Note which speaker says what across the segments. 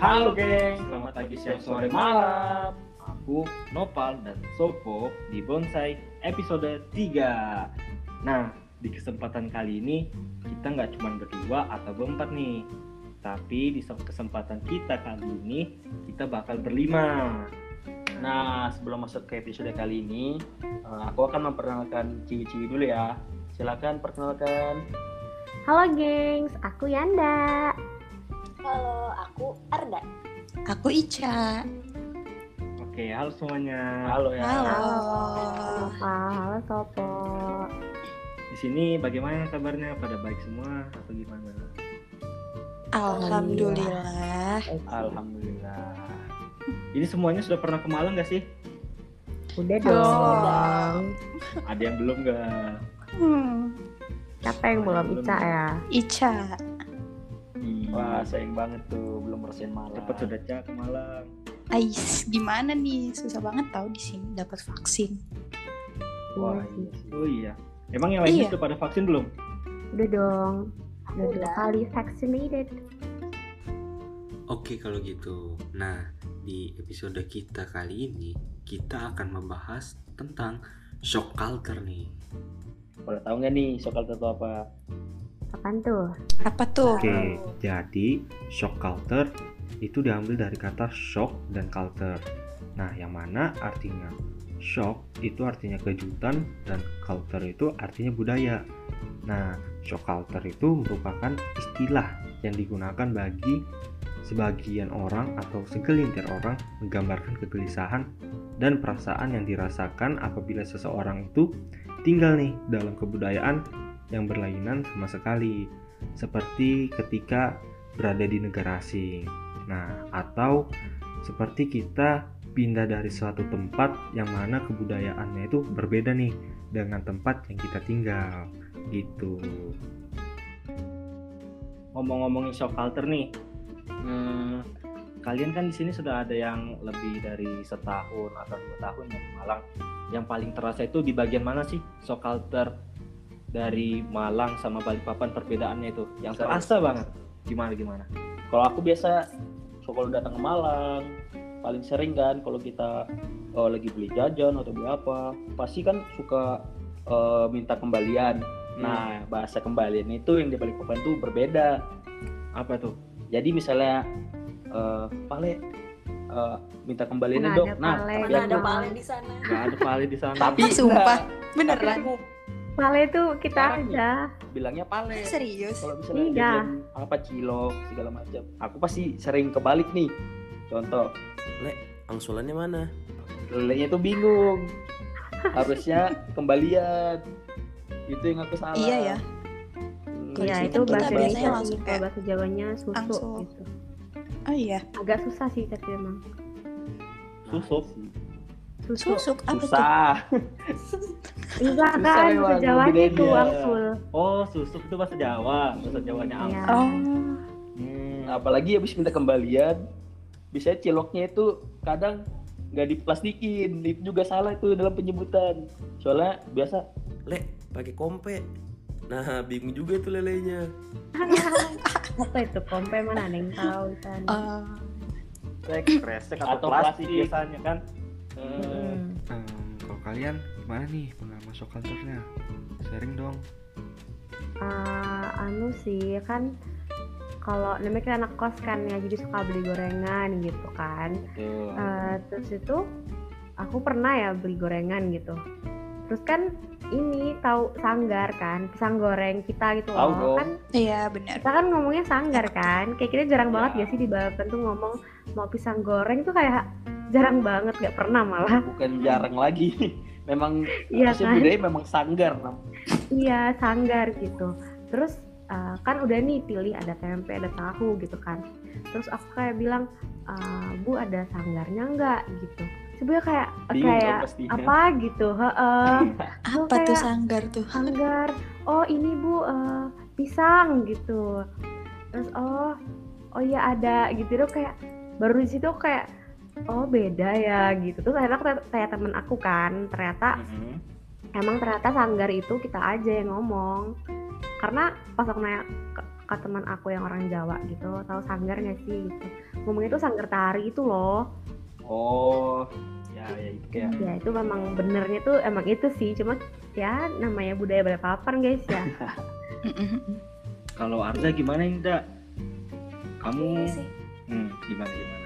Speaker 1: Halo geng, selamat pagi, siang, sore, malam Aku Nopal dan Sopo di Bonsai episode 3 Nah, di kesempatan kali ini kita nggak cuma berdua atau berempat nih Tapi di kesempatan kita kali ini kita bakal berlima
Speaker 2: Nah, sebelum masuk ke episode kali ini, eh, aku akan memperkenalkan ciwi-ciwi dulu ya. Silakan perkenalkan.
Speaker 3: Halo gengs, aku Yanda.
Speaker 4: Halo, aku Arda.
Speaker 5: Aku Ica.
Speaker 1: Oke, halo semuanya
Speaker 2: Halo ya.
Speaker 5: Halo.
Speaker 3: Ah, halo Sopo.
Speaker 1: Di sini bagaimana kabarnya? Pada baik semua atau gimana?
Speaker 3: Eh,
Speaker 5: Alhamdulillah.
Speaker 2: Alhamdulillah.
Speaker 1: Ini semuanya sudah pernah ke Malang nggak sih?
Speaker 3: Udah
Speaker 5: Dong.
Speaker 3: dong.
Speaker 1: Ada yang belum nggak?
Speaker 5: Hmm.
Speaker 3: Siapa yang belum Ica ya?
Speaker 5: Ica.
Speaker 2: Wah, sayang banget tuh belum rasain malam.
Speaker 1: Cepet sudah cak ke Malang
Speaker 5: Ais, gimana nih? Susah banget tau di sini dapat vaksin.
Speaker 2: Wah,
Speaker 3: Iya sih.
Speaker 2: iya sih.
Speaker 1: Oh iya. Emang yang lainnya
Speaker 5: Iya.
Speaker 1: sudah pada vaksin belum?
Speaker 3: Udah dong. Udah dua
Speaker 4: Udah.
Speaker 3: kali vaccinated.
Speaker 6: Oke kalau gitu. Nah, di episode kita kali ini kita akan membahas tentang shock culture nih.
Speaker 2: Pada tahu nggak nih sokal itu apa?
Speaker 3: Apaan tuh?
Speaker 5: Apa tuh?
Speaker 6: Oke, jadi shock culture itu diambil dari kata shock dan culture. Nah, yang mana artinya shock itu artinya kejutan dan culture itu artinya budaya. Nah, shock culture itu merupakan istilah yang digunakan bagi sebagian orang atau segelintir orang menggambarkan kegelisahan dan perasaan yang dirasakan apabila seseorang itu tinggal nih dalam kebudayaan yang berlainan sama sekali seperti ketika berada di negara asing. Nah, atau seperti kita pindah dari suatu tempat yang mana kebudayaannya itu berbeda nih dengan tempat yang kita tinggal. Gitu.
Speaker 1: Ngomong-ngomongin shock culture nih. Hmm, kalian kan di sini sudah ada yang lebih dari setahun atau dua tahun ya di Malang. Yang paling terasa itu di bagian mana sih shock culture dari Malang sama Balikpapan perbedaannya itu? Yang terasa banget. Gimana gimana?
Speaker 2: Kalau aku biasa sokal datang ke Malang, paling sering kan kalau kita eh, lagi beli jajan atau beli apa, pasti kan suka eh, minta kembalian.
Speaker 1: Hmm.
Speaker 2: Nah, bahasa kembalian itu yang di balik papan tuh berbeda.
Speaker 1: Apa tuh?
Speaker 2: Jadi misalnya eh Pale eh, minta kembaliin
Speaker 3: Mana
Speaker 2: dong.
Speaker 3: ada
Speaker 2: Nah,
Speaker 3: Pale?
Speaker 2: tapi
Speaker 4: Mana ada
Speaker 2: aku,
Speaker 3: aku-
Speaker 4: Pale di sana?
Speaker 1: Gak ada pale di sana.
Speaker 2: tapi
Speaker 5: Ah, sumpah.
Speaker 2: nah, tapi
Speaker 5: Beneran?
Speaker 2: aku
Speaker 3: Pale tuh kita
Speaker 2: Parah nih.
Speaker 3: aja.
Speaker 2: bilangnya Pale.
Speaker 5: Serius?
Speaker 2: Kalau misalnya
Speaker 3: Iya.
Speaker 2: jajan apa cilok segala macam, aku pasti sering kebalik nih. Contoh,
Speaker 7: angsulannya mana?
Speaker 2: lelenya tuh bingung. Harusnya kembalian. Itu yang aku salah.
Speaker 5: Iya ya.
Speaker 2: Hmm,
Speaker 5: Kalau
Speaker 3: Iya
Speaker 5: di sini
Speaker 3: itu
Speaker 5: kan kita
Speaker 3: bahasa
Speaker 5: biasanya
Speaker 3: Indonesia
Speaker 5: langsung
Speaker 3: sih. Kalau
Speaker 5: kayak
Speaker 3: bahasa Jawanya susu
Speaker 5: langsung.
Speaker 3: gitu.
Speaker 5: Oh iya.
Speaker 3: Agak susah sih tapi emang.
Speaker 1: Susup.
Speaker 3: Susu.
Speaker 5: Susuk apa tuh?
Speaker 2: Susah.
Speaker 3: Enggak
Speaker 2: Susah
Speaker 3: kan
Speaker 2: emang,
Speaker 3: bahasa Jawanya
Speaker 2: bedanya.
Speaker 3: itu angsul.
Speaker 1: Oh, susup itu bahasa Jawa. Bahasa Jawanya apa?
Speaker 3: Iya.
Speaker 5: Oh.
Speaker 1: Hmm.
Speaker 2: Apalagi habis minta kembalian, bisa ciloknya itu kadang nggak diplastikin. Itu juga salah itu dalam penyebutan. Soalnya biasa
Speaker 7: Le, pakai kompe. Nah, bingung juga tuh lelenya.
Speaker 3: Apa itu kompe mana ada yang tahu kan.
Speaker 5: Eh,
Speaker 1: Kresek, kresek
Speaker 2: atau plastik.
Speaker 1: biasanya kan. Hmm.
Speaker 2: eh,
Speaker 3: Hmm.
Speaker 6: kalau kalian gimana nih pengalaman shock culture-nya? Sharing dong.
Speaker 3: Eh, anu sih kan kalau namanya kan anak kos kan ya jadi suka beli gorengan gitu kan
Speaker 2: hmm,
Speaker 3: Eh, terus itu aku pernah ya beli gorengan gitu terus kan ini tahu sanggar kan pisang goreng kita gitu
Speaker 2: Tahu
Speaker 3: loh
Speaker 2: dong.
Speaker 3: kan
Speaker 5: iya bener.
Speaker 3: kita kan ngomongnya sanggar kan kayak kita jarang
Speaker 2: Ya.
Speaker 3: banget ya sih di Balapan tuh ngomong mau pisang goreng tuh kayak jarang banget nggak pernah malah
Speaker 2: bukan jarang lagi. Memang
Speaker 3: Iya
Speaker 2: harusnya
Speaker 3: kan?
Speaker 2: budaya memang sanggar.
Speaker 3: iya sanggar gitu terus eh, kan udah nih pilih ada tempe ada tahu gitu kan terus aku kayak bilang "Eh, bu ada sanggarnya nggak gitu sebenarnya kayak eh,
Speaker 2: Bingung
Speaker 3: Ah, kayak
Speaker 2: dong pastinya.
Speaker 3: apa gitu heeh
Speaker 5: Apa tuh
Speaker 3: kayak-
Speaker 5: sanggar tuh?
Speaker 3: sanggar oh ini bu eh, pisang gitu terus oh oh ya ada gitu tuh kayak baru di situ aku kayak oh beda ya gitu terus akhirnya aku tanya- tanya temen aku kan ternyata
Speaker 2: Mhm.
Speaker 3: emang ternyata sanggar itu kita aja yang ngomong karena pas aku nanya ke, ke teman aku yang orang Jawa gitu tahu sanggar nggak sih gitu ngomongnya tuh sanggar tari itu loh
Speaker 1: Oh, ya ya itu
Speaker 2: Iya.
Speaker 1: kayak
Speaker 3: ya itu memang benernya tuh emang itu sih cuma ya namanya budaya Balikpapan guys ya
Speaker 1: kalau Arda gimana Inda? Kamu
Speaker 4: Iya sih.
Speaker 1: hmm, gimana gimana?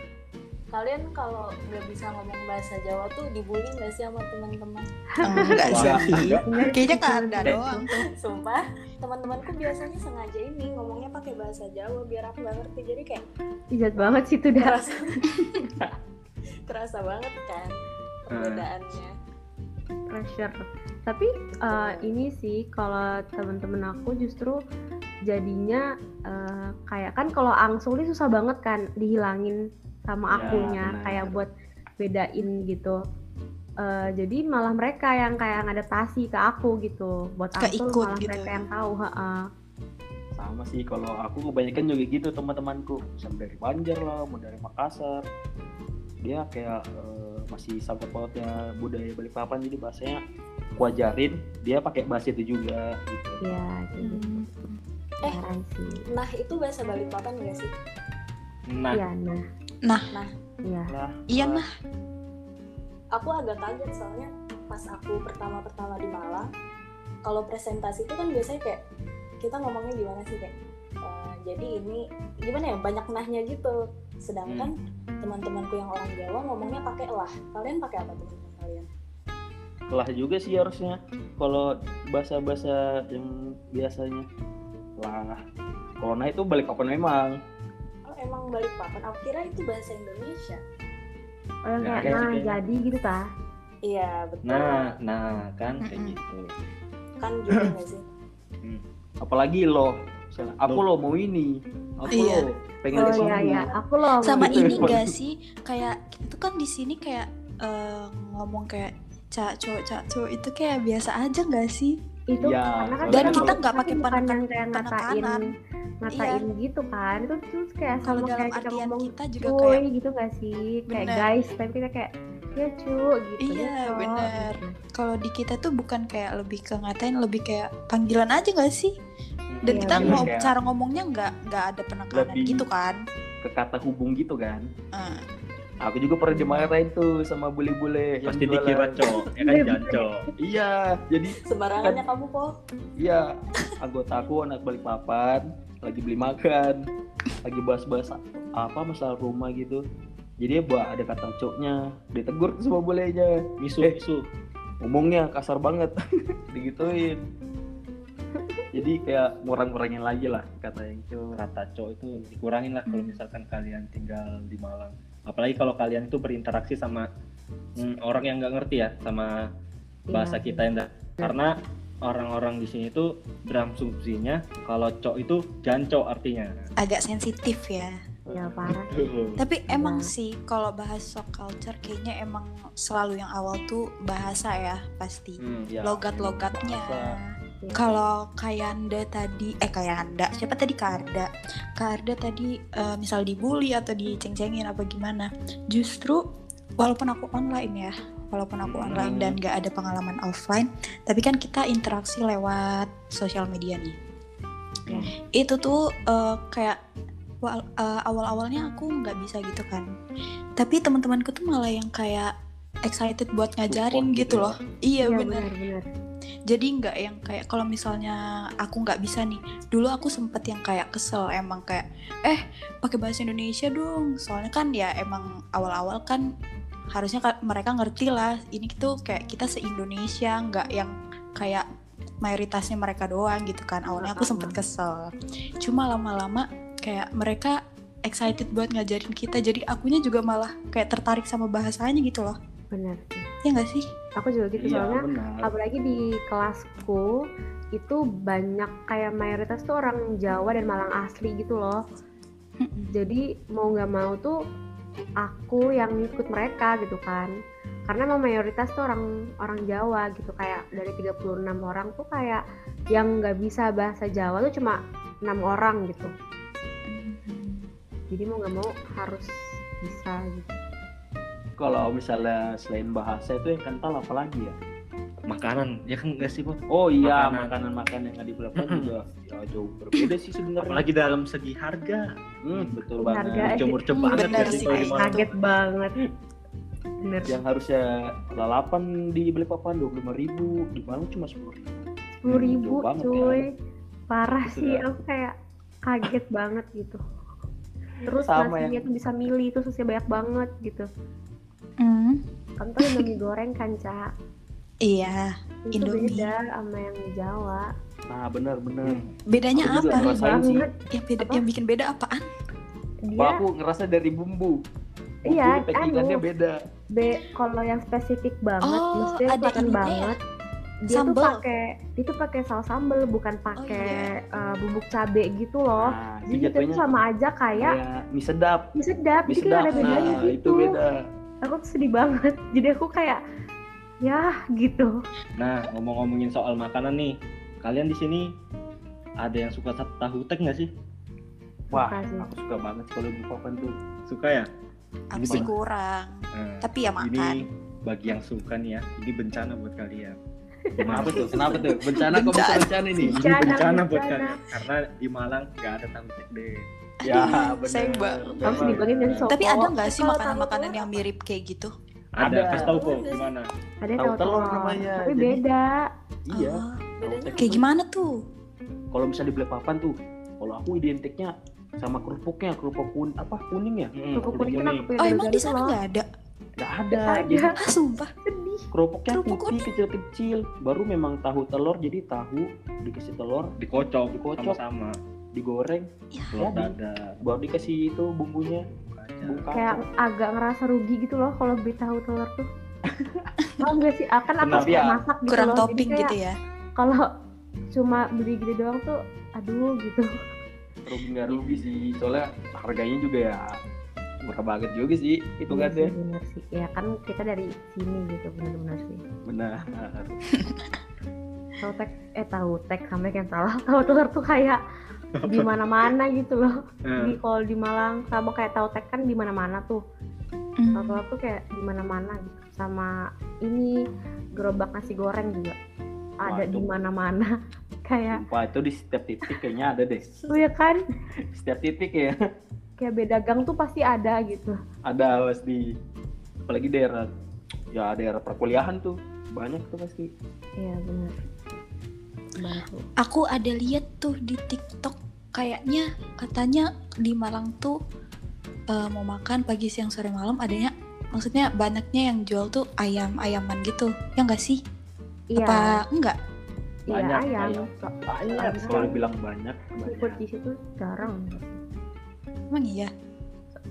Speaker 4: Kalian kalau nggak bisa ngomong bahasa Jawa tuh dibully nggak sih sama teman-teman?
Speaker 5: Enggak
Speaker 2: Wah,
Speaker 5: sih.
Speaker 2: enggak.
Speaker 5: Kayaknya Kak Arda doang tuh.
Speaker 4: Sumpah, teman-temanku biasanya sengaja ini ngomongnya pakai bahasa Jawa biar aku nggak ngerti. Jadi kayak
Speaker 3: Ijat banget sih itu dah
Speaker 4: kerasa, kerasa banget kan perbedaannya.
Speaker 3: pressure. Tapi eh, ini sih kalau temen-temen aku justru jadinya eh, kayak kan kalau angsuli susah banget kan dihilangin sama akunya
Speaker 1: benar.
Speaker 3: kayak buat bedain gitu. Eh, jadi malah mereka yang kayak ngadaptasi ke aku gitu. Buat
Speaker 5: Ke
Speaker 3: angsul
Speaker 5: ikut
Speaker 3: malah
Speaker 5: gitu
Speaker 3: mereka
Speaker 5: ya.
Speaker 3: yang tahu. heeh.
Speaker 2: sama sih kalau aku kebanyakan juga gitu teman-temanku bisa dari Banjar lah mau dari Makassar dia kayak eh, masih sangkut pautnya budaya Balikpapan jadi bahasanya kuajarin dia pakai bahasa itu juga gitu
Speaker 3: Ya
Speaker 5: Hmm.
Speaker 3: gitu.
Speaker 4: Eh.
Speaker 3: Heran sih.
Speaker 4: Nah itu bahasa Balikpapan nggak sih?
Speaker 1: Nah,
Speaker 3: Iya nah.
Speaker 5: Nah.
Speaker 4: Nah.
Speaker 3: Iya.
Speaker 2: Nah,
Speaker 5: Iya
Speaker 2: nah.
Speaker 5: nah,
Speaker 4: Aku agak kaget soalnya pas aku pertama-pertama di Malang, kalau presentasi itu kan biasanya kayak kita ngomongnya gimana sih kayak "Eh, jadi ini gimana ya banyak nahnya gitu. Sedangkan teman-temanku yang orang Jawa ngomongnya pakai lah. Kalian pakai apa teman-teman kalian?
Speaker 2: lah juga sih harusnya kalau bahasa-bahasa yang biasanya lah kalau nah itu balik kapan memang
Speaker 4: Oh emang Balikpapan? Aku kira itu bahasa Indonesia.
Speaker 3: Oh yang
Speaker 1: Ya,
Speaker 3: kayak
Speaker 1: kayak
Speaker 3: nah
Speaker 1: gitu ya.
Speaker 3: jadi gitu tah.
Speaker 4: Iya betul.
Speaker 1: nah, nah kan kayak
Speaker 5: Mm-mm.
Speaker 1: gitu.
Speaker 4: Kan juga nggak sih?
Speaker 2: apalagi lo misalnya, aku lo mau ini aku
Speaker 5: Iya.
Speaker 2: lo pengen
Speaker 3: Oh
Speaker 2: di
Speaker 3: iya
Speaker 2: sini.
Speaker 3: iya. Aku loh.
Speaker 5: sama
Speaker 2: gitu.
Speaker 5: ini gak sih? Kayak itu kan di sini kayak eh, ngomong kayak cak cok cak cok itu kayak biasa aja gak sih?
Speaker 3: itu
Speaker 2: Iya,
Speaker 3: karena kan
Speaker 2: soalnya
Speaker 5: Dan kita
Speaker 3: kalau-
Speaker 5: nggak pakai
Speaker 3: kan bukan
Speaker 5: penekan-
Speaker 3: yang kayak ngatain
Speaker 5: penekanan.
Speaker 3: ngatain gitu kan itu terus kayak
Speaker 5: Iya. Kalau
Speaker 3: sama
Speaker 5: dalam
Speaker 3: kayak kita
Speaker 5: artian
Speaker 3: ngomong
Speaker 5: kita juga
Speaker 3: cuy
Speaker 5: kayak
Speaker 3: gitu gak sih kayak
Speaker 5: Bener.
Speaker 3: guys tapi kita kayak ya cu gitu
Speaker 5: Iya,
Speaker 3: ya, cok,
Speaker 5: bener.
Speaker 3: gitu.
Speaker 5: kalau di kita tuh bukan kayak lebih ke ngatain lebih kayak panggilan aja gak sih?
Speaker 3: Iya,
Speaker 5: Dan kita
Speaker 3: bener.
Speaker 5: mau
Speaker 2: Kayak-
Speaker 5: cara ngomongnya nggak nggak ada penekanan
Speaker 2: Lebih-
Speaker 5: gitu kan?
Speaker 2: ke kata hubung gitu kan
Speaker 5: Eh,
Speaker 2: aku juga pernah dimarahin tuh sama bule-bule yang
Speaker 1: Pasti
Speaker 2: jualan.
Speaker 1: dikira cowok, ya kan jancok.
Speaker 2: iya jadi
Speaker 4: Sembarangannya kamu kok.
Speaker 2: iya anggota aku anak balik papan lagi beli makan lagi bahas-bahas apa masalah rumah gitu jadi buat ada kata coknya ditegur tuh sama bolehnya
Speaker 1: Misu,
Speaker 2: Eh.
Speaker 1: misu.
Speaker 2: ngomongnya kasar banget digituin jadi kayak ngurang-ngurangin lagi lah gitu. Hmm. kata yang
Speaker 1: itu rata cowok itu dikurangin lah kalau misalkan kalian tinggal di Malang apalagi kalau kalian itu berinteraksi sama mm, orang yang nggak ngerti ya sama bahasa
Speaker 3: Iya.
Speaker 1: kita yang nggak- karena orang-orang di sini itu beramsumsinya kalau cowok itu janco artinya
Speaker 5: agak sensitif ya.
Speaker 3: ya parah
Speaker 2: Hmm,
Speaker 5: Tapi emang
Speaker 3: Nah.
Speaker 5: sih kalau bahas soft culture kayaknya emang selalu yang awal tuh bahasa ya pasti.
Speaker 1: Hmm,
Speaker 2: iya.
Speaker 1: ya.
Speaker 5: Logat-logatnya.
Speaker 2: Bahasa.
Speaker 3: Iya.
Speaker 5: Kalau Kayanda tadi eh Kayanda, siapa tadi Karda? Karda tadi eh, misal dibully atau diceng-cengin apa gimana. Justru walaupun aku online ya, walaupun aku
Speaker 2: Hmm.
Speaker 5: online dan gak ada pengalaman offline, tapi kan kita interaksi lewat sosial media nih.
Speaker 1: Hmm.
Speaker 5: Itu tuh eh, kayak wal- eh, awal-awalnya aku nggak bisa gitu kan. Tapi teman-temanku tuh malah yang kayak excited buat ngajarin
Speaker 2: Support gitu
Speaker 5: gitu
Speaker 2: ya.
Speaker 5: loh. Iya bener
Speaker 3: bener.
Speaker 5: jadi nggak yang kayak kalau misalnya aku nggak bisa nih dulu aku sempet yang kayak kesel emang kayak eh pakai bahasa Indonesia dong soalnya kan ya emang awal-awal kan harusnya ka- mereka ngerti lah ini tuh kayak kita se Indonesia nggak yang kayak mayoritasnya mereka doang gitu kan awalnya aku sempet kesel cuma lama-lama kayak mereka excited buat ngajarin kita jadi akunya juga malah kayak tertarik sama bahasanya gitu loh
Speaker 3: bener sih
Speaker 5: ya nggak sih
Speaker 3: aku juga gitu
Speaker 2: iya
Speaker 3: soalnya
Speaker 2: benar
Speaker 3: apalagi di kelasku itu banyak kayak mayoritas tuh orang Jawa dan Malang asli gitu loh jadi mau nggak mau tuh aku yang ikut mereka gitu kan karena emang mayoritas tuh orang orang Jawa gitu kayak dari 36 orang tuh kayak yang nggak bisa bahasa Jawa tuh cuma enam orang gitu jadi mau nggak mau harus bisa gitu
Speaker 2: kalau misalnya selain bahasa itu yang kental apa lagi ya
Speaker 1: makanan ya kan nggak sih Bob?
Speaker 2: Oh iya,
Speaker 1: Makanan. Hmm.
Speaker 2: makanan-makanan yang ada di Balikpapan juga ya, jauh berbeda sih sebenarnya.
Speaker 1: apalagi dalam segi harga
Speaker 2: Hmm, betul
Speaker 3: Harga
Speaker 2: banget.
Speaker 3: aja.
Speaker 1: murcem-murcem
Speaker 5: Hmm,
Speaker 1: banget
Speaker 5: benar
Speaker 1: ya
Speaker 5: sih,
Speaker 1: kalau di
Speaker 5: kayak
Speaker 1: Malang.
Speaker 3: Kaget banget. Bener.
Speaker 2: Yang harusnya lalapan di Balikpapan 25.000 ribu, di Malang cuma 10 ribu.
Speaker 3: Sepuluh ribu,
Speaker 2: jauh banget ya.
Speaker 3: cuy. Parah
Speaker 2: Itu
Speaker 3: sih,
Speaker 2: dah.
Speaker 3: aku kayak kaget banget gitu. Terus
Speaker 2: Sama ya.
Speaker 3: nasinya tuh bisa milih, itu sosial banyak banget gitu.
Speaker 5: Hmm,
Speaker 3: Kan tuh Indomie goreng kan, Ca.
Speaker 5: iya.
Speaker 3: Itu
Speaker 5: Indomie.
Speaker 3: beda sama yang di Jawa.
Speaker 2: Nah
Speaker 1: Hmm.
Speaker 2: benar-benar.
Speaker 5: Bedanya
Speaker 2: Aku juga
Speaker 5: apa?
Speaker 2: ngerasain sih.
Speaker 3: Banget.
Speaker 5: Yang beda,
Speaker 3: Apa?
Speaker 5: yang bikin beda apaan?
Speaker 3: Dia
Speaker 2: Wah, aku ngerasa dari bumbu. Bumbu
Speaker 3: Iya,
Speaker 2: packingannya
Speaker 3: anu.
Speaker 2: beda.
Speaker 3: B kalau yang spesifik banget,
Speaker 5: Oh,
Speaker 3: maksudnya
Speaker 5: ada
Speaker 3: kelihatan
Speaker 5: ininya
Speaker 3: banget. Dia tuh
Speaker 5: Sambel.
Speaker 3: pakai, dia tuh pakai saus sambel,
Speaker 5: Oh,
Speaker 3: bukan pakai
Speaker 5: iya.
Speaker 3: eh, bubuk cabe gitu loh.
Speaker 2: Nah,
Speaker 3: Jadi itu
Speaker 2: itu
Speaker 3: tuh
Speaker 2: jatuhnya
Speaker 3: sama aja kayak
Speaker 2: kayak mie sedap.
Speaker 3: mie sedap,
Speaker 2: Iya. Mie
Speaker 3: jadi nggak
Speaker 2: sedap.
Speaker 3: ada bedanya
Speaker 2: Nah,
Speaker 3: gitu.
Speaker 2: itu beda.
Speaker 3: Aku tuh sedih banget. Jadi aku kayak, ya gitu.
Speaker 1: nah ngomong-ngomongin soal makanan nih kalian di sini ada yang suka tahu tek nggak sih
Speaker 2: Wah,
Speaker 3: Makasih.
Speaker 2: aku suka banget kalau di Papan tuh.
Speaker 1: suka ya
Speaker 5: Aku
Speaker 1: Ini
Speaker 5: sih
Speaker 1: bener.
Speaker 5: kurang.
Speaker 1: Nah,
Speaker 5: Tapi ya
Speaker 1: ini
Speaker 5: makan.
Speaker 1: bagi yang suka nih ya ini bencana buat kalian
Speaker 2: Kenapa tuh? Kenapa tuh? Bencana kok bisa
Speaker 5: Bencana.
Speaker 2: bencana ini?
Speaker 1: ini
Speaker 3: Bencana,
Speaker 1: bencana buat
Speaker 3: bencana.
Speaker 1: kalian karena di Malang nggak ada tahu tek deh
Speaker 2: Ya,
Speaker 5: Aduh, sayang banget.
Speaker 2: bener.
Speaker 3: Aku sedih banget dari sopo.
Speaker 5: Tapi ada nggak sih
Speaker 4: Kalau
Speaker 5: makanan-makanan
Speaker 4: tahu-
Speaker 5: yang mirip kayak gitu?
Speaker 1: ada,
Speaker 2: Ada.
Speaker 1: kasih tahu kok gimana
Speaker 3: Ada
Speaker 2: Tahu
Speaker 3: tahu
Speaker 2: telur
Speaker 3: telur,
Speaker 2: namanya,
Speaker 3: tapi
Speaker 2: jadi-
Speaker 3: beda.
Speaker 2: Iya.
Speaker 5: Oh,
Speaker 4: bedanya
Speaker 5: kayak
Speaker 4: apa?
Speaker 5: gimana tuh?
Speaker 2: Kalau misalnya di Balikpapan tuh, kalau aku identiknya sama kerupuknya, kerupuk kun apa kuning ya?
Speaker 1: Hmm,
Speaker 3: Kerupuk kuning kan aku punya
Speaker 5: Oh
Speaker 3: dari
Speaker 5: emang di
Speaker 3: Garut
Speaker 5: sana
Speaker 3: loh.
Speaker 5: nggak ada?
Speaker 2: Nggak ada.
Speaker 3: Nggak
Speaker 2: Jadi
Speaker 3: ada.
Speaker 5: Ah, sumpah.
Speaker 3: Sedih.
Speaker 2: kerupuknya
Speaker 5: Kerupuk
Speaker 2: putih
Speaker 5: kuning.
Speaker 2: kecil-kecil. Baru memang tahu telur, jadi tahu dikasih telur,
Speaker 1: dikocok
Speaker 2: Dikocok.
Speaker 1: sama-sama
Speaker 2: digoreng,
Speaker 1: telur
Speaker 2: Jadi.
Speaker 1: dada
Speaker 2: baru dikasih itu bumbunya,
Speaker 1: kacang.
Speaker 2: bumbu
Speaker 3: Kayak
Speaker 2: kacang.
Speaker 3: agak ngerasa rugi gitu loh kalau beli tahu telur tuh. Oh enggak sih, akan aku
Speaker 2: Kenapa?
Speaker 3: suka masak gitu
Speaker 5: Kurang
Speaker 3: loh. Jadi
Speaker 5: topping
Speaker 3: kayak-
Speaker 5: gitu ya.
Speaker 3: kalau cuma beli gitu doang tuh aduh gitu
Speaker 2: Rugi nggak rugi sih, soalnya harganya juga ya murah banget juga
Speaker 3: Iya
Speaker 2: sih
Speaker 3: sih,
Speaker 2: hitungannya.
Speaker 3: bener sih ya kan kita dari sini gitu bener-bener sih
Speaker 2: Benar.
Speaker 3: tahu tek eh tahu tek sampai yang salah tahu telur tuh kayak di mana-mana gitu loh
Speaker 1: Hmm.
Speaker 3: di kalau di Malang sama kayak tahu tek kan di mana-mana tuh
Speaker 5: Hmm.
Speaker 3: tahu telur tuh kayak di mana-mana gitu sama ini gerobak nasi goreng juga ada di
Speaker 2: Waduh.
Speaker 3: mana-mana kayak
Speaker 2: Sumpah itu di setiap titik kayaknya ada deh.
Speaker 3: tuh ya kan
Speaker 2: Setiap titik ya
Speaker 3: kayak beda gang tuh pasti ada gitu
Speaker 2: ada pasti. Apalagi daerah ya daerah perkuliahan tuh banyak tuh pasti.
Speaker 3: iya bener Banget tuh.
Speaker 5: Aku ada lihat tuh di TikTok kayaknya katanya di Malang tuh eh, mau makan pagi siang sore malam adanya maksudnya banyaknya yang jual tuh ayam ayaman gitu ya nggak sih?
Speaker 3: Iya.
Speaker 5: Apa enggak?
Speaker 3: Iya
Speaker 2: Banyak,
Speaker 3: ayam.
Speaker 2: ayam.
Speaker 3: So-
Speaker 2: Banyak. Kalau bilang banyak,
Speaker 3: Seafood
Speaker 2: banyak.
Speaker 3: di situ jarang.
Speaker 5: Emang iya.
Speaker 1: yang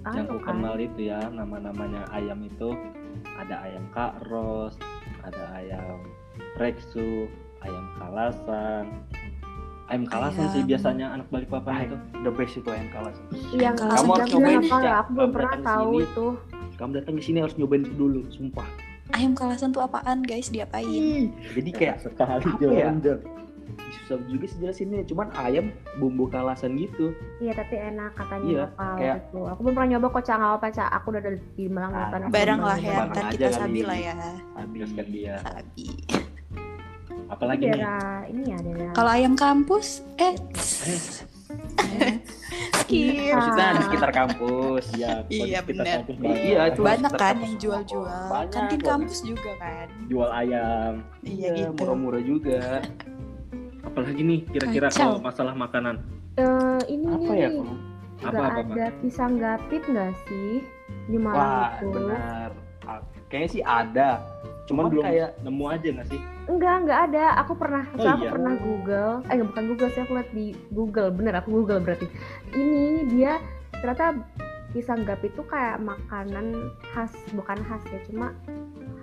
Speaker 3: Anu
Speaker 1: aku
Speaker 3: kan.
Speaker 1: kenal itu ya nama-namanya ayam itu ada ayam kak ros ada ayam reksu ayam kalasan ayam kalasan sih
Speaker 5: Ayam.
Speaker 1: biasanya anak balikpapan
Speaker 2: Ay.
Speaker 1: itu
Speaker 2: The best itu ayam kalas.
Speaker 3: Iya,
Speaker 5: Kamu
Speaker 3: kalau
Speaker 5: harus
Speaker 3: jam
Speaker 5: nyobain
Speaker 3: berapa ya?
Speaker 2: deh, Cak.
Speaker 3: Aku belum
Speaker 2: Kamu
Speaker 3: pernah
Speaker 2: datang
Speaker 3: tahu
Speaker 2: sini.
Speaker 3: itu.
Speaker 2: Kamu datang ke sini harus nyobain itu dulu, sumpah.
Speaker 5: Ayam kalasan tuh apaan guys? Diapain?
Speaker 2: Jadi kayak
Speaker 1: sekali
Speaker 2: apa ya?
Speaker 1: jalan Jon.
Speaker 2: susah juga sih jelasinnya, cuman ayam bumbu kalasan gitu.
Speaker 3: Iya, tapi enak katanya
Speaker 2: Iya,
Speaker 3: lokal
Speaker 2: kayak-
Speaker 3: gitu. Aku belum pernah nyoba kocang apa apa, Cak. Aku udah ada di Malang
Speaker 2: Ah,
Speaker 3: datang.
Speaker 5: Barang lah
Speaker 2: Barang
Speaker 5: ya, ntar
Speaker 2: aja
Speaker 5: kita
Speaker 2: kali.
Speaker 5: sabi lah ya.
Speaker 1: Terus kan dia
Speaker 5: Sabi.
Speaker 1: apalagi nih
Speaker 3: Daerah ini ya daerah.
Speaker 5: Kalau ayam kampus, eh, skip.
Speaker 2: Iya, Maksudnya di sekitar kampus.
Speaker 1: ya
Speaker 5: Iya,
Speaker 1: kita
Speaker 5: bener.
Speaker 1: kampus
Speaker 2: Iya,
Speaker 1: banyak.
Speaker 2: iya, cuma
Speaker 5: Banyak
Speaker 2: sekitar
Speaker 5: kan yang
Speaker 2: kampus doang.
Speaker 5: jual-jual.
Speaker 2: Banyak
Speaker 5: Kantin
Speaker 2: kok.
Speaker 5: kampus juga kan.
Speaker 1: jual ayam
Speaker 5: Iya gitu.
Speaker 2: murah-murah juga.
Speaker 1: apalagi nih kira-kira
Speaker 5: Kacau.
Speaker 1: kalau masalah makanan
Speaker 3: Eh,
Speaker 5: Iya.
Speaker 3: ini
Speaker 2: Apa
Speaker 3: nih.
Speaker 2: ya? kalau-
Speaker 1: apa
Speaker 3: Nggak
Speaker 1: apa, apa?
Speaker 3: ada pisang gapit nggak sih di Malang
Speaker 2: Wah,
Speaker 3: itu?
Speaker 2: benar. Ah, Kayaknya sih ada.
Speaker 1: cuman
Speaker 2: Cuman
Speaker 1: belum
Speaker 2: kayak
Speaker 1: nemu aja nggak sih
Speaker 3: Enggak, enggak ada. Aku pernah,
Speaker 1: Oh
Speaker 3: soalnya aku
Speaker 1: iya?
Speaker 3: pernah Google. Eh, bukan Google sih, aku lihat di Google. Bener, aku Google berarti. Ini dia ternyata pisang gap itu kayak makanan khas, bukan khas ya, cuma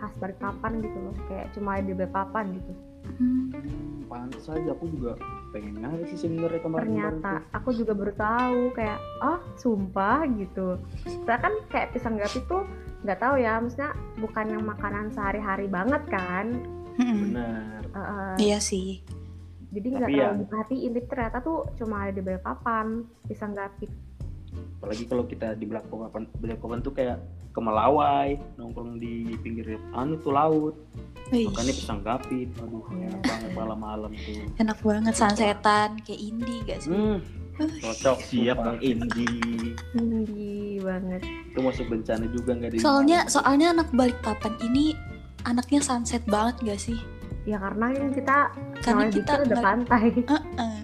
Speaker 3: khas Balikpapan gitu loh. Kayak cuma ada di Balikpapan gitu.
Speaker 5: Hmm.
Speaker 2: hmm, pantas aja aku juga pengen nyari sih sebenarnya kemarin.
Speaker 3: Ternyata aku juga baru tahu kayak, oh sumpah gitu. Saya kan kayak pisang gap itu nggak tahu ya, maksudnya bukan yang makanan sehari-hari banget kan.
Speaker 5: Mm-mm.
Speaker 2: Benar.
Speaker 3: Eh, eh,
Speaker 5: Iya sih.
Speaker 3: jadi nggak
Speaker 2: Tapi
Speaker 3: terlalu
Speaker 2: ya-
Speaker 3: diperhatiin tapi ternyata tuh cuma ada di Balikpapan pisang gapit
Speaker 2: apalagi kalau kita di Black Coven Black Coven tuh kayak ke Melawai nongkrong di pinggir anu tuh laut
Speaker 5: Wih,
Speaker 2: makanya pesanggapi aduh enak banget malam-malam tuh
Speaker 5: enak banget sunsetan kayak indie gak sih?
Speaker 2: hmm
Speaker 5: Wih,
Speaker 2: cocok ya,
Speaker 1: Siap
Speaker 2: sumpah.
Speaker 1: Bang Indi.
Speaker 5: Hmm.
Speaker 3: tinggi banget
Speaker 2: itu masuk bencana juga nggak ada yang
Speaker 5: Soalnya
Speaker 2: tahu.
Speaker 5: soalnya anak Balikpapan ini anaknya sunset banget gak sih?
Speaker 3: ya karena kan kita
Speaker 5: Karena
Speaker 3: namanya dikit
Speaker 5: kita
Speaker 3: udah
Speaker 5: nggak- Ah.
Speaker 3: pantai
Speaker 5: Heeh.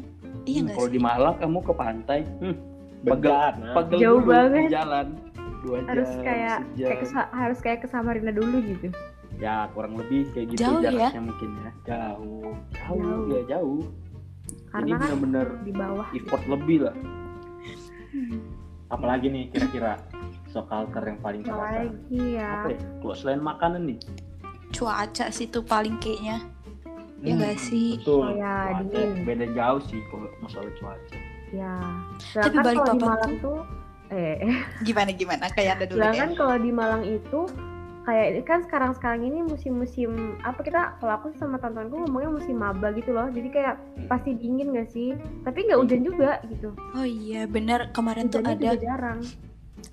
Speaker 5: Iya
Speaker 2: Hmm,
Speaker 5: gak
Speaker 2: kalau
Speaker 5: sih?
Speaker 2: di Malang kamu ke pantai hmm, pegel
Speaker 1: Bencana.
Speaker 2: pegel
Speaker 3: Jauh
Speaker 2: dulu
Speaker 3: banget.
Speaker 2: di jalan dua jam
Speaker 3: harus kayak kayak
Speaker 2: sejam.
Speaker 3: kesa- harus kayak ke Samarinda dulu gitu
Speaker 2: ya kurang lebih kayak gitu
Speaker 5: Jauh ya?
Speaker 2: jaraknya mungkin ya jauh jauh,
Speaker 3: Jauh.
Speaker 2: ya jauh
Speaker 3: karena
Speaker 2: Jadi
Speaker 3: kan
Speaker 2: bener-bener
Speaker 3: di bawah gitu.
Speaker 2: effort lebih lah
Speaker 5: Hmm.
Speaker 1: Apalagi nih kira-kira shock culture yang paling terasa.
Speaker 3: lagi ya
Speaker 2: apa ya kalau selain makanan nih
Speaker 5: Cuaca sih tuh paling kayaknya. Ya
Speaker 1: Hmm,
Speaker 5: gak sih?
Speaker 3: Iya Oh
Speaker 1: Betul.
Speaker 3: ya,
Speaker 1: Cuaca.
Speaker 3: dingin.
Speaker 2: beda jauh sih kalau masalah cuaca
Speaker 3: ya sedangkan
Speaker 5: balik
Speaker 3: kalau di
Speaker 5: papan
Speaker 3: Malang tuh eh
Speaker 5: Gimana gimana kayak ada dulu
Speaker 3: Sedangkan
Speaker 5: deh.
Speaker 3: kalau di Malang itu kayak kan sekarang-sekarang ini musim-musim apa kita kalau aku sama tontonku ngomongnya musim maba gitu loh. Jadi kayak
Speaker 2: Hmm.
Speaker 3: pasti dingin gak sih? Tapi nggak
Speaker 2: Iya.
Speaker 3: hujan juga gitu.
Speaker 5: Oh iya bener kemarin tuh
Speaker 3: Hujannya
Speaker 5: ada
Speaker 3: juga jarang.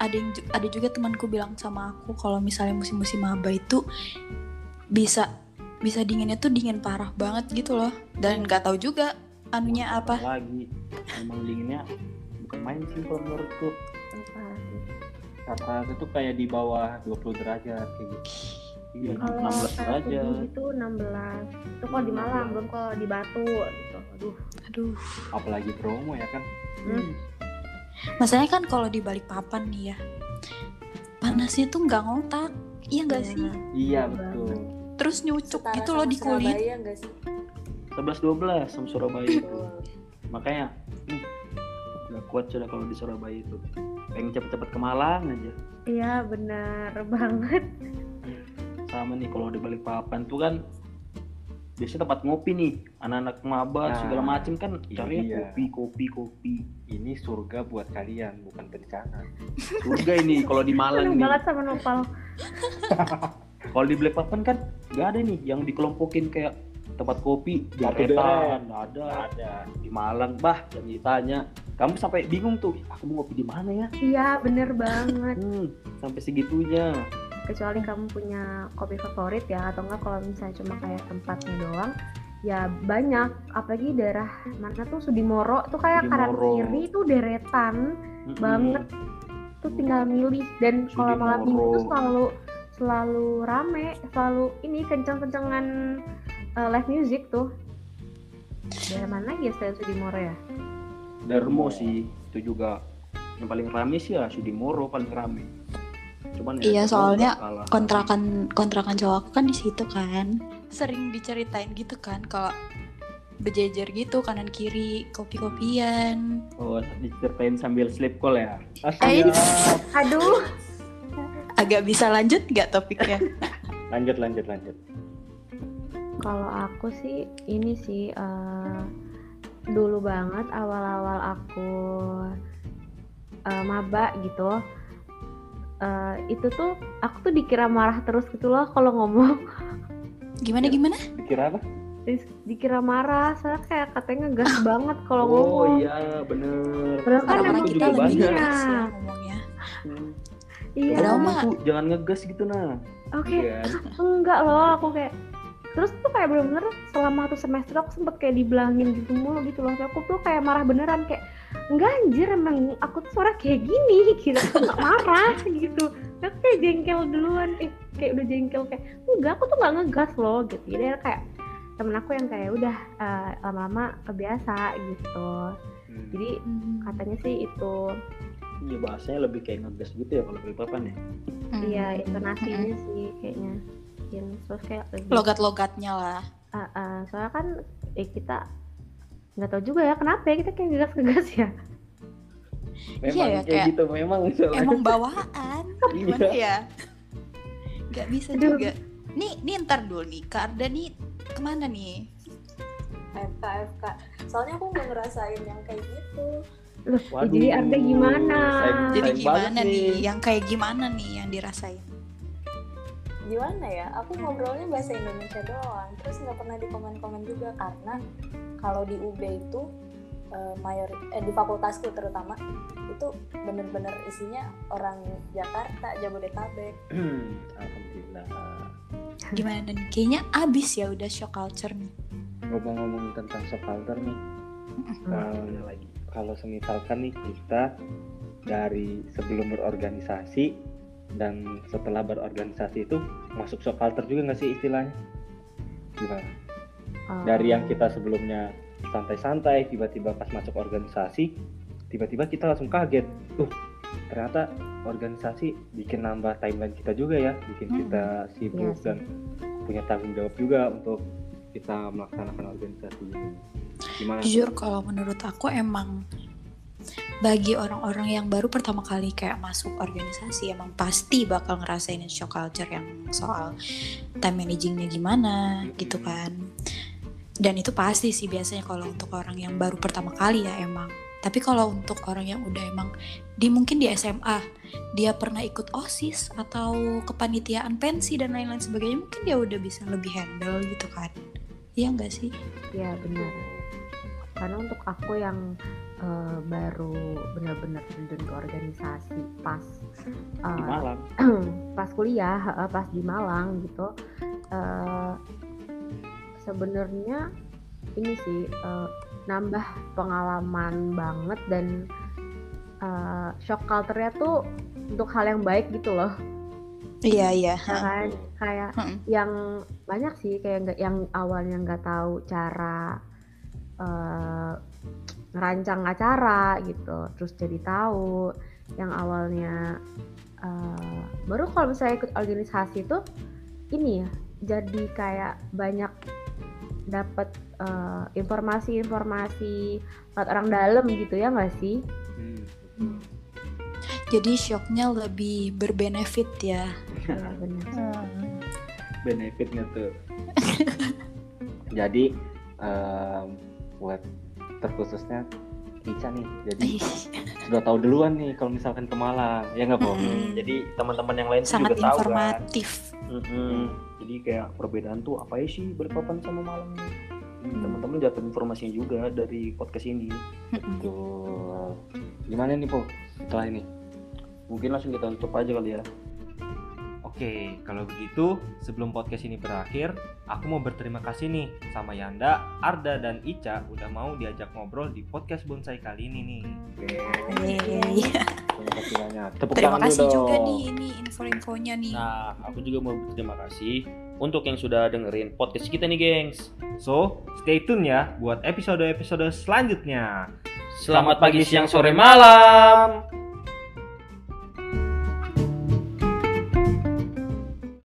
Speaker 5: ada yang ju- ada juga temanku bilang sama aku kalau misalnya musim-musim maba itu bisa bisa dinginnya tuh dingin parah banget gitu loh dan nggak tahu juga anunya apa
Speaker 2: lagi emang dinginnya bukan main sih kalau menurutku
Speaker 3: Apa sih?
Speaker 1: Kata itu kayak di bawah 20 derajat kayak gitu.
Speaker 2: iya
Speaker 3: Kalau
Speaker 2: 16
Speaker 3: kayak
Speaker 2: derajat
Speaker 3: subuh gitu 16. Itu
Speaker 2: Hmm.
Speaker 3: kalau di Malang belum kalau di Batu gitu. Aduh.
Speaker 5: aduh
Speaker 1: Apalagi promo ya kan.
Speaker 3: Hmm.
Speaker 5: masalahnya kan kalau di balik papan nih ya panasnya tuh nggak ngotak iya nggak sih
Speaker 1: Iya
Speaker 3: Betul
Speaker 1: betul.
Speaker 5: terus nyucuk
Speaker 4: Setara
Speaker 5: gitu loh
Speaker 4: sama
Speaker 5: di kulit
Speaker 4: Surabaya nggak sih?
Speaker 2: 11 12 sama Surabaya itu
Speaker 4: Tuh.
Speaker 2: makanya hmm, nggak kuat sudah kalau di Surabaya itu pengen cepet-cepet ke Malang aja
Speaker 3: Iya benar banget.
Speaker 2: sama nih kalau di Balikpapan tuh kan biasanya tempat ngopi nih anak-anak maba
Speaker 1: Nah,
Speaker 2: segala macem kan
Speaker 1: iya.
Speaker 2: carinya kopi kopi kopi
Speaker 1: Ini surga buat kalian bukan bencana.
Speaker 2: surga ini kalau di Malang
Speaker 3: Seneng
Speaker 2: nih
Speaker 3: banget sama Nopal.
Speaker 2: kalau di Balikpapan kan nggak ada nih yang dikelompokin kayak tempat kopi
Speaker 1: Jatuh
Speaker 2: daretan nggak ada
Speaker 1: Ada.
Speaker 2: di Malang bah yang ditanya kamu sampai bingung tuh aku mau ngopi di mana ya
Speaker 3: Iya benar banget.
Speaker 2: hmm, sampai segitunya
Speaker 3: kecuali kamu punya kopi favorit ya atau enggak kalau misalnya cuma kayak tempatnya doang ya banyak apalagi daerah mana tuh Sudimoro tuh kayak kanan
Speaker 2: Sudimoro.
Speaker 3: kiri tuh deretan
Speaker 2: Mm-mm.
Speaker 3: banget tuh tinggal milih dan kalau malam minggu tuh
Speaker 2: Sudimoro.
Speaker 3: selalu selalu rame selalu ini kenceng-kencengan eh, live music tuh daerah mana lagi ya selain Sudimoro ya
Speaker 2: Dermo sih itu juga yang paling rame sih ya Sudimoro paling rame cuman
Speaker 5: Iya,
Speaker 2: Dermo
Speaker 5: soalnya
Speaker 2: nggak kalah.
Speaker 5: kontrakan kontrakan cowok aku kan di situ kan sering diceritain gitu kan kalau berjejer gitu kanan kiri kopi kopian
Speaker 2: oh diceritain sambil sleep call ya
Speaker 5: Eh,
Speaker 3: aduh
Speaker 5: agak bisa lanjut nggak topiknya
Speaker 1: Lanjut lanjut lanjut.
Speaker 3: kalau aku sih ini sih eh, dulu banget awal-awal aku eh, maba gitu eh, itu tuh aku tuh dikira marah terus gitu loh kalau ngomong
Speaker 5: gimana gimana
Speaker 1: Dikira apa?
Speaker 3: Terus dikira marah soalnya kayak katanya ngegas banget kalau
Speaker 2: oh
Speaker 3: ngomong
Speaker 2: iya bener
Speaker 3: Padahal kan
Speaker 2: Temen
Speaker 5: orang
Speaker 3: emang
Speaker 2: aku
Speaker 5: kita
Speaker 2: juga
Speaker 5: lebih
Speaker 3: banyak.
Speaker 5: keras ya ngomongnya
Speaker 2: Hmm.
Speaker 3: iya
Speaker 5: Padahal
Speaker 2: Ngomong
Speaker 5: mah-
Speaker 2: tuh jangan ngegas gitu nah
Speaker 3: oke
Speaker 1: Iya.
Speaker 3: enggak loh aku kayak terus tuh kayak bener-bener selama satu semester aku sempet kayak dibilangin gitu mulu gitu loh Tapi aku tuh kayak marah beneran kayak enggak anjir emang aku tuh suara kayak gini gitu aku nggak marah gitu aku kayak jengkel duluan eh, kayak udah jengkel kayak enggak aku tuh nggak ngegas loh gitu jadi ada kayak temen aku yang kayak udah eh, lama-lama kebiasa gitu jadi
Speaker 5: Hmm.
Speaker 3: katanya sih itu
Speaker 2: Iya bahasanya lebih kayak ngegas gitu ya kalau dari papan ya
Speaker 5: Hmm.
Speaker 3: iya intonasinya sih kayaknya mungkin terus kayak lebih-
Speaker 5: logat-logatnya lah
Speaker 3: Ah, ah, soalnya kan eh, kita nggak tahu juga ya kenapa ya kita kayak ngegas-ngegas ya.
Speaker 2: memang
Speaker 5: Iya ya,
Speaker 2: kayak,
Speaker 5: kayak-
Speaker 2: gitu memang soalnya.
Speaker 5: emang bawaan
Speaker 2: Iya.
Speaker 5: gimana ya nggak bisa
Speaker 3: Aduh.
Speaker 5: juga nih nih ntar dulu nih Kak Arda nih kemana nih
Speaker 4: FK FK. Soalnya aku nggak ngerasain yang kayak gitu.
Speaker 3: Loh, ya
Speaker 2: Waduh,
Speaker 3: jadi Arda gimana?
Speaker 2: sayang-
Speaker 5: jadi
Speaker 2: Sayang
Speaker 5: gimana
Speaker 2: banget
Speaker 5: nih
Speaker 2: nih.
Speaker 5: yang kayak gimana nih yang dirasain
Speaker 4: gimana ya aku ngobrolnya bahasa Indonesia doang terus nggak pernah dikomen-komen juga karena kalau di UB itu eh, mayori eh, di fakultasku terutama itu bener-bener isinya orang Jakarta, Jabodetabek.
Speaker 2: Alhamdulillah.
Speaker 5: Gimana dan kayaknya abis ya udah shock culture nih.
Speaker 6: Ngomong-ngomong tentang shock culture nih, eh,
Speaker 1: Nah, lagi.
Speaker 6: kalau semisalkan nih kita dari sebelum berorganisasi dan setelah berorganisasi itu masuk shock culture juga nggak sih istilahnya? Gimana? Dari yang kita sebelumnya santai-santai, tiba-tiba pas masuk organisasi, tiba-tiba kita langsung kaget. Uh, ternyata organisasi bikin nambah timeline kita juga ya, bikin
Speaker 5: Hmm.
Speaker 6: kita sibuk
Speaker 3: Iya sih.
Speaker 6: dan punya tanggung jawab juga untuk kita melaksanakan organisasi. Gimana?
Speaker 5: Jujur kalau menurut aku emang bagi orang-orang yang baru pertama kali kayak masuk organisasi emang pasti bakal ngerasain shock culture yang soal time managingnya gimana gitu kan dan itu pasti sih biasanya kalau untuk orang yang baru pertama kali ya emang tapi kalau untuk orang yang udah emang di mungkin di SMA dia pernah ikut osis atau kepanitiaan pensi dan lain-lain sebagainya mungkin dia udah bisa lebih handle gitu kan iya enggak sih
Speaker 3: Iya benar. Karena untuk aku yang eh, baru benar-benar terjun ke organisasi pas eh,
Speaker 2: Di Malang.
Speaker 3: pas kuliah, eh, pas di Malang gitu. eh, Sebenarnya ini sih eh, nambah pengalaman banget dan eh, shock culture-nya tuh untuk hal yang baik gitu loh,
Speaker 5: iya iya
Speaker 3: ya kan? Kayak
Speaker 5: Mm-mm.
Speaker 3: yang banyak sih kayak nggak- yang awalnya nggak tahu cara eh, ngerancang acara gitu, terus jadi tahu. Yang awalnya eh, baru kalau misalnya ikut organisasi tuh ini ya jadi kayak banyak dapat eh, informasi-informasi buat orang dalam gitu ya nggak sih?
Speaker 6: Hmm.
Speaker 5: Jadi shocknya lebih berbenefit ya.
Speaker 3: Iya, benar.
Speaker 1: benefitnya tuh
Speaker 6: Jadi em, buat terkhususnya Ica nih, jadi
Speaker 3: Iya.
Speaker 5: Ih,
Speaker 6: sudah tahu duluan nih kalau misalkan ke Malang, ya nggak Bob?
Speaker 3: Hmm.
Speaker 5: Mm-mm.
Speaker 6: Jadi teman-teman yang lain tuh
Speaker 5: Sangat
Speaker 6: juga tahu kan.
Speaker 5: informatif.
Speaker 2: Mm-mm. Hmm. Jadi kayak perbedaan tuh apa ya sih berpapan sama malam ini? Teman-teman dapat informasinya juga dari podcast ini.
Speaker 5: Mm-mm.
Speaker 6: Betul. Gimana nih Po setelah ini?
Speaker 2: Mungkin langsung kita tutup aja kali ya.
Speaker 6: Oke, kalau begitu sebelum podcast ini berakhir, aku mau berterima kasih nih sama Yanda, Arda, dan Ica udah mau diajak ngobrol di podcast bonsai kali ini nih.
Speaker 5: Yeay.
Speaker 6: Terima kasih banyak. Tepuk
Speaker 5: Terima
Speaker 6: tangan
Speaker 5: kasih
Speaker 6: dulu
Speaker 5: juga
Speaker 6: dong.
Speaker 5: nih ini info-infonya nih.
Speaker 2: Nah, aku juga mau berterima kasih untuk yang sudah dengerin podcast kita nih, gengs.
Speaker 6: So, stay tune ya buat episode-episode selanjutnya.
Speaker 2: Selamat pagi, siang, sore, malam.